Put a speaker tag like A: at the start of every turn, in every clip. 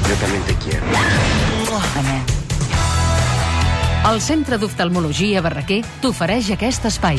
A: completamente quiero.
B: El Centre d'Oftalmologia Barraquer t'ofereix aquest espai.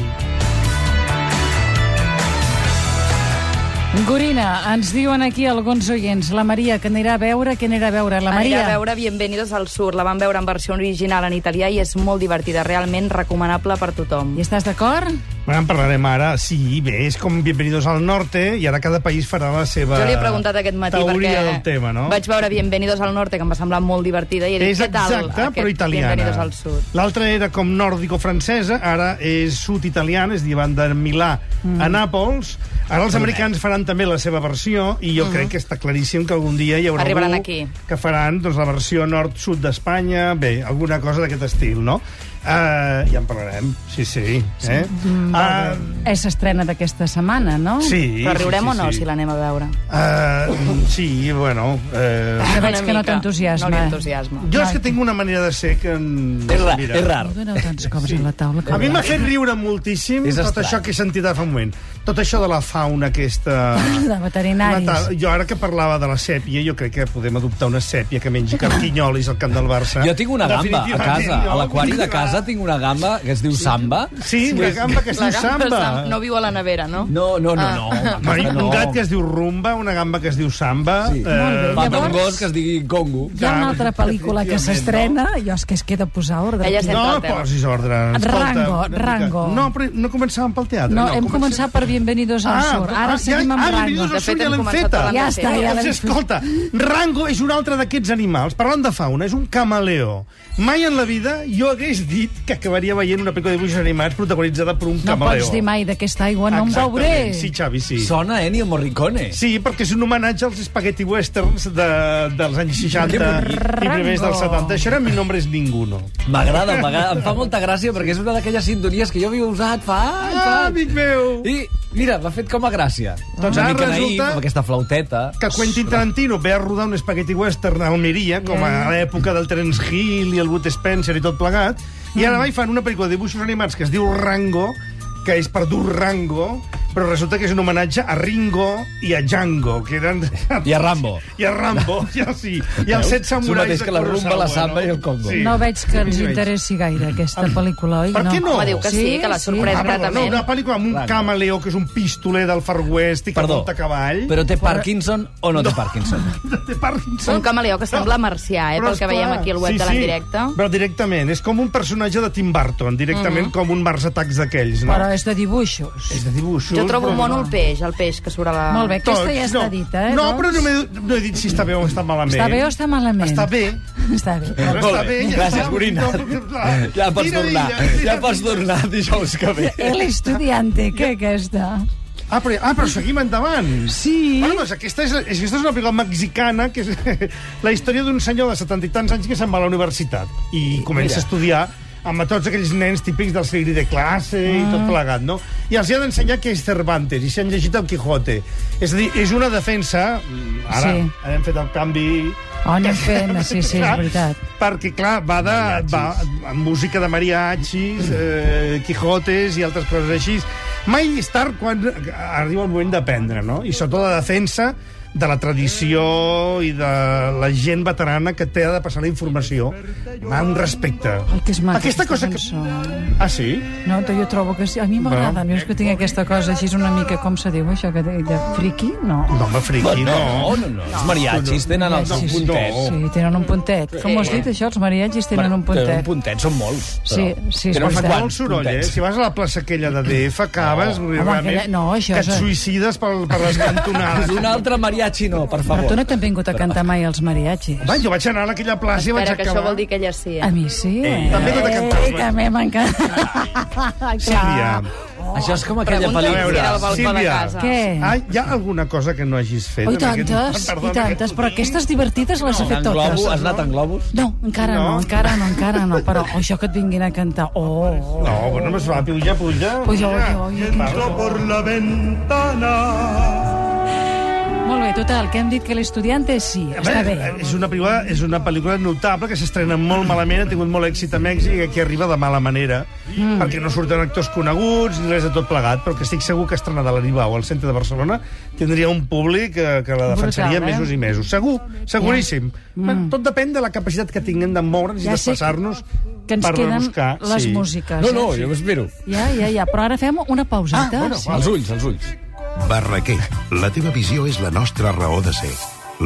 C: Gorina, ens diuen aquí alguns oients, la Maria, que anirà a veure, que anirà a veure, la
D: Anirà
C: Maria.
D: a veure Bienvenidos al Sur. La van veure en versió original en italià i és molt divertida, realment recomanable per tothom.
C: Hi estàs d'acord?
E: Bueno, en parlarem ara. Sí, bé, és com Bienvenidos al Norte i ara cada país farà la seva
D: Jo li he preguntat aquest matí
E: Eh, teoria
D: perquè
E: del tema, no?
D: vaig veure Bienvenidos al Norte, que em va semblar molt divertida, i he dit,
E: És
D: què tal
E: exacte,
D: aquest
E: però italiana.
D: Bienvenidos al Sud?
E: L'altra era com nòrdico-francesa, ara és sud-italiana, és a dir, van de Milà mm. a Nàpols. Ara els americans faran també la seva versió i jo crec que està claríssim que algun dia hi haurà
D: Mm-hmm. Arribaran
E: algú
D: aquí.
E: que faran doncs, la versió nord-sud d'Espanya, bé, alguna cosa d'aquest estil, no? Uh, ja en parlarem, sí, sí. Eh?
D: Mm,
E: Uh,
C: Eh, S'estrena d'aquesta setmana, no?
E: sí,
D: Però riurem
E: sí, sí,
D: o no,
E: sí.
D: si l'anem a veure?
E: Uh, sí, bueno... Uh...
C: Ja veig
D: Una
C: que no
D: mica.
C: t'entusiasma.
D: No li entusiasma.
E: Jo és que tinc una manera de ser que... En...
F: És rar, és rar.
C: No doneu tants cops a la taula. Que
E: A mi m'ha fet riure moltíssim
F: És
E: tot
F: estrany.
E: això que he sentit ara fa un moment. Tot això de la fauna aquesta...
C: De veterinaris.
E: Natal. Jo ara que parlava de la sèpia, jo crec que podem adoptar una sèpia que mengi carquinyolis al camp del Barça.
F: Jo tinc una gamba a
E: Definitivament,
F: casa,
E: no?
F: a l'aquari de casa tinc una gamba que es diu Samba.
E: Sí, una gamba que es
D: La
E: diu
D: gamba
E: samba.
D: Sam no viu a la nevera, no?
F: No, no, no, no. Ah.
E: Bueno, i Un gat que es diu rumba, una gamba que es diu samba. eh,
F: Sí. Falta un gos que es digui Congo.
C: Hi ha una altra pel·lícula que s'estrena, jo és que es queda a posar ordre.
D: Ella sent-
E: No
D: el tema.
E: posis ordre.
C: Rango,
E: una mica.
C: Rango.
E: No, però no Ah, començàvem pel teatre.
C: No, hem començat per Bienvenidos al Sur. Ara seguim amb Rango.
E: ah, Bienvenidos al
D: De
E: Sur
D: fet,
E: ja
D: hem
E: l'hem
D: començat
E: feta.
D: parlant
C: Ja de està, sèries. ja l'hem
E: Doncs, Escolta, Rango és un altre d'aquests animals. Parlant de fauna, és un camaleó. Mai en la vida jo hagués dit que acabaria veient una pel·lícula de dibuixos animats protagonitzada per un
C: No
E: camaleó.
C: pots dir mai d'aquesta aigua, no em
E: Exactament.
C: veuré.
E: Sí, Xavi, sí.
F: Sona eh, Ennio Morricone.
E: Sí, perquè és un homenatge als spaghetti westerns de, dels anys 60
F: Que bonic.
E: i primers dels 70. Això era Mi nombre es ninguno.
F: M'agrada, m'agrada. em fa molta gràcia perquè és una d'aquelles sintonies que jo havia usat fa anys, fa
E: Ah,
F: anys.
E: amic meu!
F: I mira, m'ha fet com a gràcia.
E: Doncs
F: una
E: ara
F: mica naïf,
E: resulta
F: amb aquesta flauteta.
E: que Quentin Tarantino ve a rodar un spaghetti western a Almeria, com a l'època del Terence Hill i el Wood Spencer i tot plegat, i
F: Mm.
E: ara mai fan una pel·lícula de dibuixos animats que es diu Rango, que és per dur Rango, però resulta que és un homenatge a Ringo i a Django, que eren...
F: I a Rambo.
E: I a Rambo, ja sí. I
F: Veus?
E: els set
F: És el
E: samurais
F: mateix
E: de
F: que la rumba,
E: Kurosawa,
F: la samba i el congo.
C: No veig que els interessi gaire aquesta pel·lícula, oi?
E: Per què no?
D: Home, diu que sí, que la sorprèn
E: Ah, perdó, no,
D: gratament.
E: una pel·lícula amb un
F: Rango.
E: camaleó que és un pistoler del Far West i que
F: Perdó,
E: monta a cavall.
F: però té Parkinson o no té Parkinson?
E: Té Parkinson.
D: Un camaleó que sembla marcià, eh,
E: Però,
D: pel que
E: esclar,
D: veiem aquí al web de l'endirecte.
E: Però directament, és com un personatge de Tim Burton, directament com un Mars Attacks d'aquells, no?
C: Però és de dibuixos.
E: És de dibuixos.
D: Jo trobo
E: però
D: mono
E: no.
D: el peix, el peix que surt a la...
C: Molt bé, aquesta
E: Tots,
C: ja està
E: no.
C: dita, eh?
E: No,
C: doncs?
E: però no, he, no he dit si està bé o està malament.
C: Està bé o està malament?
E: Està bé.
C: Està bé.
E: Però
F: Molt
E: està bé,
F: bé.
E: ja
F: Gràcies,
E: està.
F: Corina.
E: No,
F: Ja pots
E: Mira,
F: tornar.
E: mira, mira,
F: Ja pots tornar dijous que ve.
C: El estudiante, què aquesta?
E: Ah, però, ah, però seguim endavant.
C: Sí.
E: Bueno, doncs aquesta és, és, aquesta és una pel·lícula mexicana, que és la història d'un senyor de 70 i tants anys que se'n va a la universitat i comença
F: Mira.
E: a estudiar amb tots aquells nens típics del segri de classe i
C: Ah.
E: tot plegat, no? I els hi ha d'ensenyar que és Cervantes, i s'han llegit el Quijote. És a dir, és una defensa... mm, Ara,
C: Sí.
E: hem fet el canvi...
C: Oh, anem fent, sí, sí, és
E: Clar,
C: veritat.
E: Perquè, clar, va de... Va, amb música de mariachis, eh, Quijotes i altres coses així. Mai és tard quan arriba el moment d'aprendre, no? I sobretot la defensa de la tradició i de la gent veterana que té de passar la informació amb respecte.
C: Ai, que és maca
E: Aquesta cosa que...
C: cançó.
E: Ah, sí?
C: No, jo trobo que sí. A mi m'agrada, a mi és que tinc aquesta cosa així, és una mica, com se diu això, que de, de friki? No.
E: No, home, friqui,
F: No,
E: no.
F: no, no. Els mariachis tenen el seu
C: Sí, sí,
F: puntet.
C: Sí, tenen un puntet. Com ho has dit, això? Els mariatges tenen un
F: Tenen
C: puntet.
F: un puntet, són molts.
C: Sí, sí, és
F: Tenen uns
E: Fa
C: veritat.
F: quants
E: molt soroll, eh?
F: puntets.
E: Si vas a la plaça aquella de DF, acabes, no,
C: aquella- no, això
E: que
C: és-
E: et suïcides per, per les cantonades.
F: Ah, Un altre mariachi no, per
C: Però
F: favor.
C: tu no t'han vingut a cantar mai els mariatges.
E: Va, jo vaig anar a aquella plaça i vaig
D: Espera, que
E: acabar...
D: això vol dir que ella sí.
C: A mi sí. Eh,
E: també t'he de cantar els
C: Eh, també m'encanta.
E: Sílvia,
F: Això és com aquella
D: Pregunta
E: A
D: si
E: veure,
D: era el
F: pel·lícula...
D: balcó de
E: Sílvia.
D: casa.
C: Què?
E: ah, hi ha alguna cosa que no hagis fet?
C: Oi,
E: en aquest-
C: tantes,
E: Perdona, eh?
C: i tantes,
E: aquest-
C: però aquestes divertides les he fet
F: En globo, has
C: totes.
F: anat en globus?
C: No, encara no,
E: No.
C: encara no, encara no, però oh, això que et vinguin a cantar, oh,
E: No, bueno, més va, puja, puja.
C: Puja, puja, puja.
E: Va,
G: por la ventana
C: Molt bé, total, que hem dit que l'estudiante sí, està bé.
E: Eh, És una, pel·lícula, és una pel·lícula notable que s'estrena molt malament, ha tingut molt èxit a Mèxic i aquí arriba de mala manera, mm. perquè no surten actors coneguts ni res de tot plegat, però que estic segur que estrenada a l'Aribau al centre de Barcelona tindria un públic eh, que la defensaria
C: Brutal, eh?
E: mesos i mesos. Segur, seguríssim. Mm. Tot depèn de la capacitat que tinguem de moure'ns
C: Ja
E: i
C: sé
E: desplaçar-nos
C: que ens
E: per
C: queden
E: buscar.
C: les músiques. eh?
F: No, no, jo m'espero.
C: Ja, ja, ja, però ara fem una pauseta.
E: Ah, bueno,
C: sí.
E: va.
F: Els ulls, els ulls.
A: Barraquer, la teva visió és la nostra raó de ser.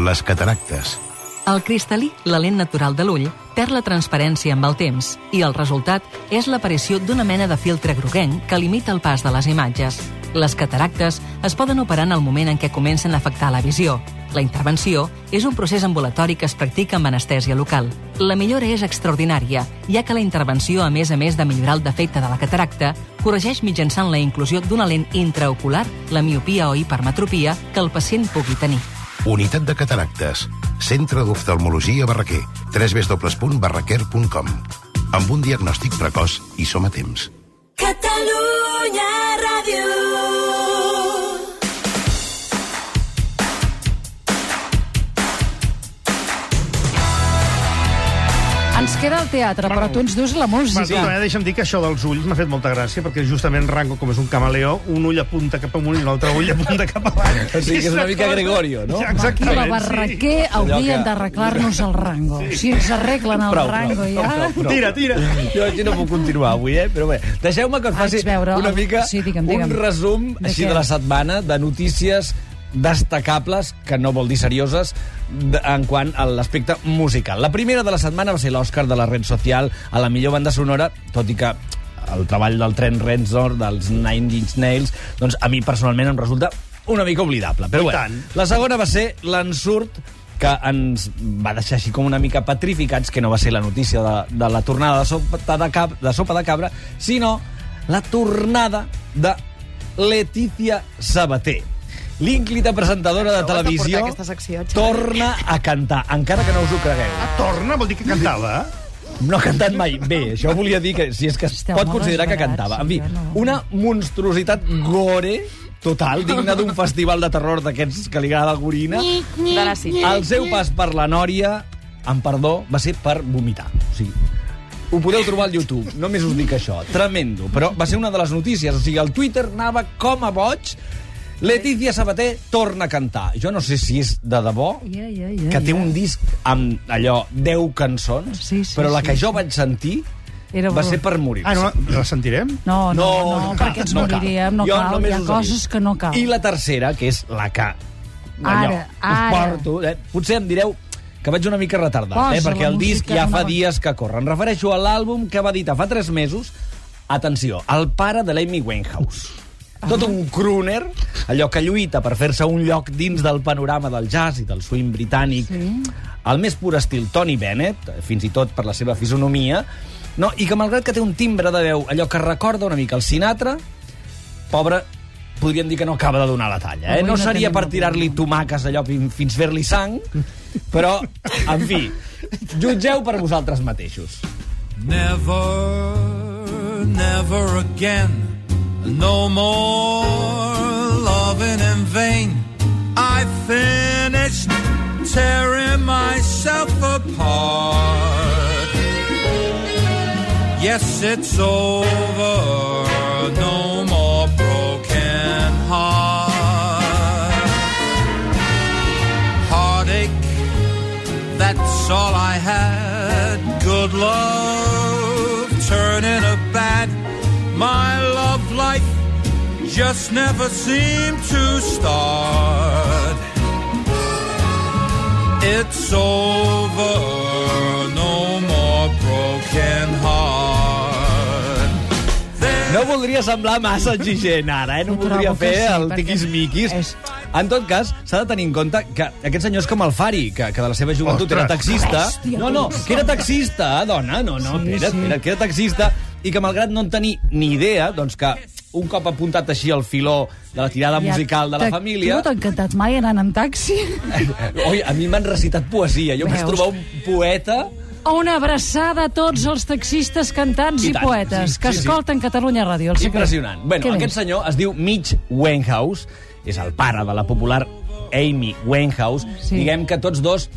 A: Les cataractes.
G: El cristal·lí, la lent natural de l'ull, perd la transparència amb el temps i el resultat és l'aparició d'una mena de filtre groguenc que limita el pas de les imatges. Les cataractes es poden operar en el moment en què comencen a afectar la visió. La intervenció és un procés ambulatori que es practica amb anestèsia local. La millora és extraordinària, ja que la intervenció, a més a més de millorar el defecte de la cataracta, corregeix mitjançant la inclusió d'una lent intraocular, la miopia o hipermetropia, que el pacient pugui tenir.
A: Unitat de cataractes. Centre d'oftalmologia Barraquer. www.barraquer.com Amb un diagnòstic precoç i som a temps.
H: Catalunya Ràdio.
C: Ens queda el teatre, però tu ens dus la
E: Va, sí. eh,
C: música.
E: deixa'm dir que això dels ulls m'ha fet molta gràcia, perquè justament Rango, com és un camaleó, un ull apunta cap amunt i l'altre ull apunta cap avall.
F: O sigui que és una mica Gregorio, no?
C: Aquí
E: Exactament,
C: la Barraquer sí. haurien
F: que-
C: d'arreglar-nos el rango. Si ens arreglen el rango ja...
E: Tira, tira.
F: Jo, jo no puc continuar avui, eh? Però bé, deixeu-me que us
C: Vaig
F: faci
C: veure
F: una
C: el-
F: mica
C: sí, digue'm, digue'm.
F: un resum
C: De
F: així
C: què?
F: de la setmana de notícies destacables, que no vol dir serioses, d- en quant a l'aspecte musical. La primera de la setmana va ser l'Oscar de la Red Social a la millor banda sonora, tot i que el treball del tren Renzor, dels Nine Inch Nails, doncs a mi personalment em resulta una mica oblidable.
E: I
F: Però bé,
E: tant.
F: la segona va ser l'ensurt que ens va deixar així com una mica petrificats, que no va ser la notícia de, de la tornada de sopa de, cap, de sopa de cabra, sinó la tornada de Letícia Sabater. L'ínclita presentadora de
D: Ho has de
F: televisió
D: portar, aquesta secció, Xavi.
F: torna a cantar, encara que no us ho cregueu.
E: Torna, vol dir que cantava, eh?
F: No ha cantat mai bé, això volia dir que si és que es
C: Esteu
F: pot
C: molt
F: considerar que
C: desesperats,
F: cantava. En fi,
C: jo no.
F: una monstruositat gore total, digna d'un festival de terror d'aquests que li agrada l'orina.
D: De la City.
F: El seu pas per la Nòria, amb perdó, va ser per vomitar. O sigui, ho podeu trobar al YouTube, només us dic això. Tremendo, però va ser una de les notícies. O sigui, el Twitter anava com a boig. Letícia Sabater torna a cantar. Jo no sé si és de debò,
C: Ja, ja, ja,
F: que té
C: ja.
F: un disc amb allò 10 cançons,
C: Sí, sí,
F: però la
C: sí,
F: que jo
C: sí.
F: vaig sentir
C: Era
F: va
C: horror.
F: ser per morir.
E: Ah, no, la sentirem?
C: No, no, no, no, perquè ens moriríem, no
F: Jo
C: cal.
F: només
C: Hi ha
F: us ho
C: coses
F: dic.
C: que no cal.
F: I la tercera, que és la que...
C: Ara,
F: allò,
C: ara.
F: Us porto, eh? Potser em direu que vaig una mica retardat, eh?
C: Posa
F: perquè
C: la
F: el disc
C: música
F: ja
C: nova.
F: fa dies que corre. Em refereixo a l'àlbum que va editar fa 3 mesos, atenció, el pare de l'Amy Winehouse. Tot un crooner, allò que lluita per fer-se un lloc dins del panorama del jazz i del swing britànic, sí. al més pur estil Tony Bennett, fins i tot per la seva fisonomia, no? i que malgrat que té un timbre de veu, allò que recorda una mica el Sinatra, pobre, podríem dir que no acaba de donar la talla. Eh?
C: Avui
F: No
C: no
F: seria
C: tenim
F: per
C: la
F: tirar-li tomaques allò fin- fins fer-li sang, però, en fi, jutgeu per vosaltres mateixos.
I: Never, never again. No more loving in vain. I finished tearing myself apart. Yes, it's over. No more broken heart. Heartache. That's all I had. Good love turning a bad. My love life just never seemed to start. It's over. No more broken heart.
F: No voldria semblar massa exigent ara, eh? No
C: Jo trobo
F: voldria
C: que
F: fer
C: sí,
F: el
C: perquè
F: tiquis-miquis.
C: és-
F: En tot cas, s'ha de tenir en compte que aquest senyor és com el Fari, que, que de la seva joventut era
E: Ostres.
F: taxista. No, no, que era taxista, eh, dona, no, no,
C: Sí,
F: espera't,
C: sí.
F: espera't, que era taxista, i que malgrat no en tenir ni idea, doncs que un cop apuntat així al filó de la tirada musical de la
C: Te- Tu
F: família...
C: no t'ha encantat mai anant en taxi?
F: Oi, a mi m'han recitat poesia. Jo em vaig
C: Veus?
F: trobar un poeta...
C: Una abraçada a tots els taxistes, cantants
F: I
C: i,
F: tant,
C: poetes
F: sí,
C: que
F: sí, sí.
C: escolten Catalunya Ràdio. El secret.
F: Impressionant. Bueno,
C: Què
F: aquest
C: més?
F: senyor es diu Mitch Wenhouse, és el pare de la popular Amy Winehouse,
C: Sí.
F: sí. diguem que tots dos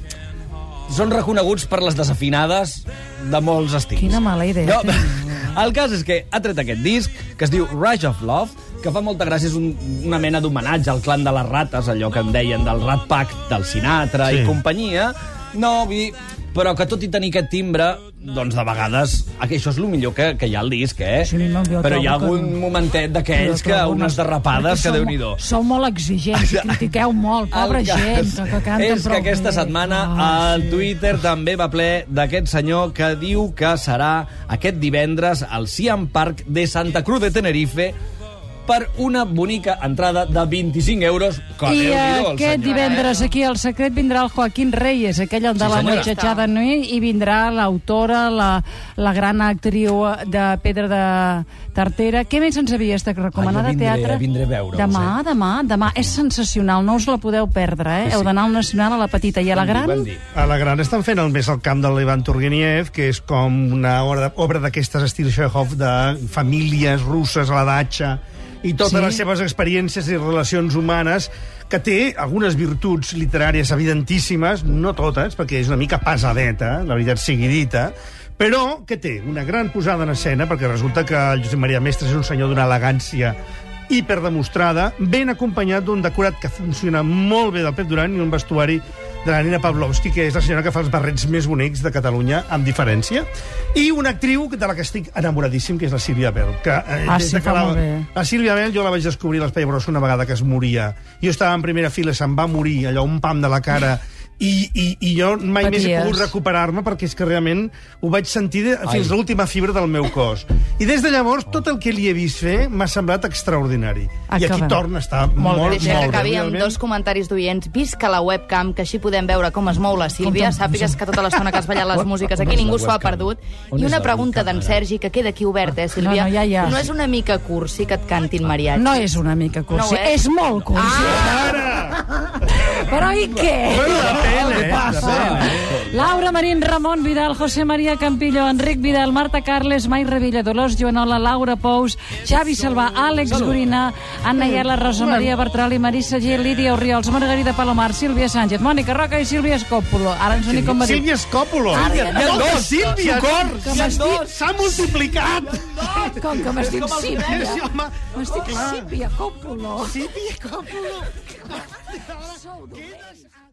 F: són reconeguts per les desafinades de molts estils.
C: Quina mala idea.
F: No, el cas és que ha tret aquest disc, que es diu Rush of Love, que fa molta gràcia, és un, una mena d'homenatge al clan de les rates, allò que en deien del Rat Pack, del Sinatra
E: Sí.
F: sí. i companyia. No, vull dir, però que tot i tenir aquest timbre, doncs de vegades ah, que això és el millor que, que hi ha al disc, eh?
C: Sí, no, jo
F: però hi ha
C: trobo que-
F: algun momentet d'aquells que unes derrapades que
C: déu
F: déu-n'hi-do.
C: Sou molt exigents i critiqueu molt, pobra
F: El cas
C: gent, que, que canta
F: és que
C: prou
F: aquesta
C: bé.
F: setmana
C: Ah,
F: el
C: sí.
F: Twitter també va ple d'aquest senyor que diu que serà aquest divendres al Siam Park de Santa Cruz de Tenerife per una bonica entrada de 25 euros. Que
C: I
F: Déu-n'hi-do, el
C: aquest
F: senyor, eh?
C: divendres aquí al Secret vindrà el Joaquín Reyes, aquell de la
F: senyora.
C: muchachada nui, i vindrà l'autora, la, la gran actriu de Pedra de Tartera. Què més ens havia estat recomanada?
F: Ah, jo vindré-
C: teatre?
F: vindré a veure-us,
C: Demà,
F: eh?
C: demà, demà. És sensacional, no us la podeu perdre, eh?
F: Sí, sí.
C: Heu d'anar al Nacional a la petita i a la
F: Van dir,
C: gran.
F: van dir.
E: A la Gran estan fent el més al camp de l'Ivan Turgeniev, que és com una obra, obra d'aquestes estil Chekhov de famílies russes a la datxa i tota totes
C: Sí.
E: sí. les seves experiències i relacions humanes, que té algunes virtuts literàries evidentíssimes, no totes, perquè és una mica pesadeta, la veritat sigui dita, però que té una gran posada en escena, perquè resulta que el Josep Maria Mestres és un senyor d'una elegància hiperdemostrada, ben acompanyat d'un decorat que funciona molt bé del Pep Duran i un vestuari de la Nina Pavlovsky, que és la senyora que fa els barrets més bonics de Catalunya, amb diferència, i una actriu de la que estic enamoradíssim, que és la Sílvia Bell, que eh,
C: Ah,
E: des
C: sí,
E: de que
C: fa
E: la-
C: molt bé.
E: la Sílvia Bell jo la vaig descobrir a l'Espai Bros una vegada que es moria. Jo estava en primera fila, se'n va morir, allò, un pam de la cara... I, i, i jo mai Paties. més he
C: Paties.
E: pogut recuperar-me perquè és que realment ho vaig sentir de, fins a l'última fibra del meu cos. I des de llavors tot el que li he vist fer m'ha semblat extraordinari. I aquí
C: Acabem.
E: torna a estar molt, molt,
D: Deixa que
E: molt
D: acabi
E: bé.
D: amb
E: realment.
D: dos comentaris d'oients. Visca la webcam, que així podem veure com es mou la Sílvia. Sàpigues que tota l'estona que has ballat les músiques aquí
F: On és
D: ningú
F: la
D: s'ho ha
F: webcam?
D: perdut.
F: On
D: I
F: és
D: una
F: la
D: pregunta
F: webcam,
D: d'en
F: ara?
D: Sergi, que queda aquí oberta, eh, Sílvia?
C: No, no, ja, ja.
D: No és una mica cursi que et cantin mariatge?
C: No és una mica cursi,
D: No ho és?
C: és molt cursi. Ah! Però i què?
E: Bueno, depèn, eh?
C: Laura Marín, Ramon Vidal, José María Campillo, Enric Vidal, Marta Carles, Mai Revilla, Dolors Joanola, Laura Pous, Xavi Salvà, Àlex Gorina, Anna Iela, Rosa Maria Bertroli, Marisa G, Lídia Oriols, Margarida Palomar, Sílvia Sánchez, Mònica Roca i Sílvia Escòpolo. Ara ens unic com va dir.
E: Sílvia Escòpolo. Sílvia,
F: Hi ha dos,
E: Sílvia,
F: socors!
E: Sílvia, s'ha multiplicat.
C: Com que m'estic
E: Sí,
C: Sílvia?
E: home.
C: M'estic Sílvia Còpolo.
E: Sílvia Escòpolo.
C: Sou dolents.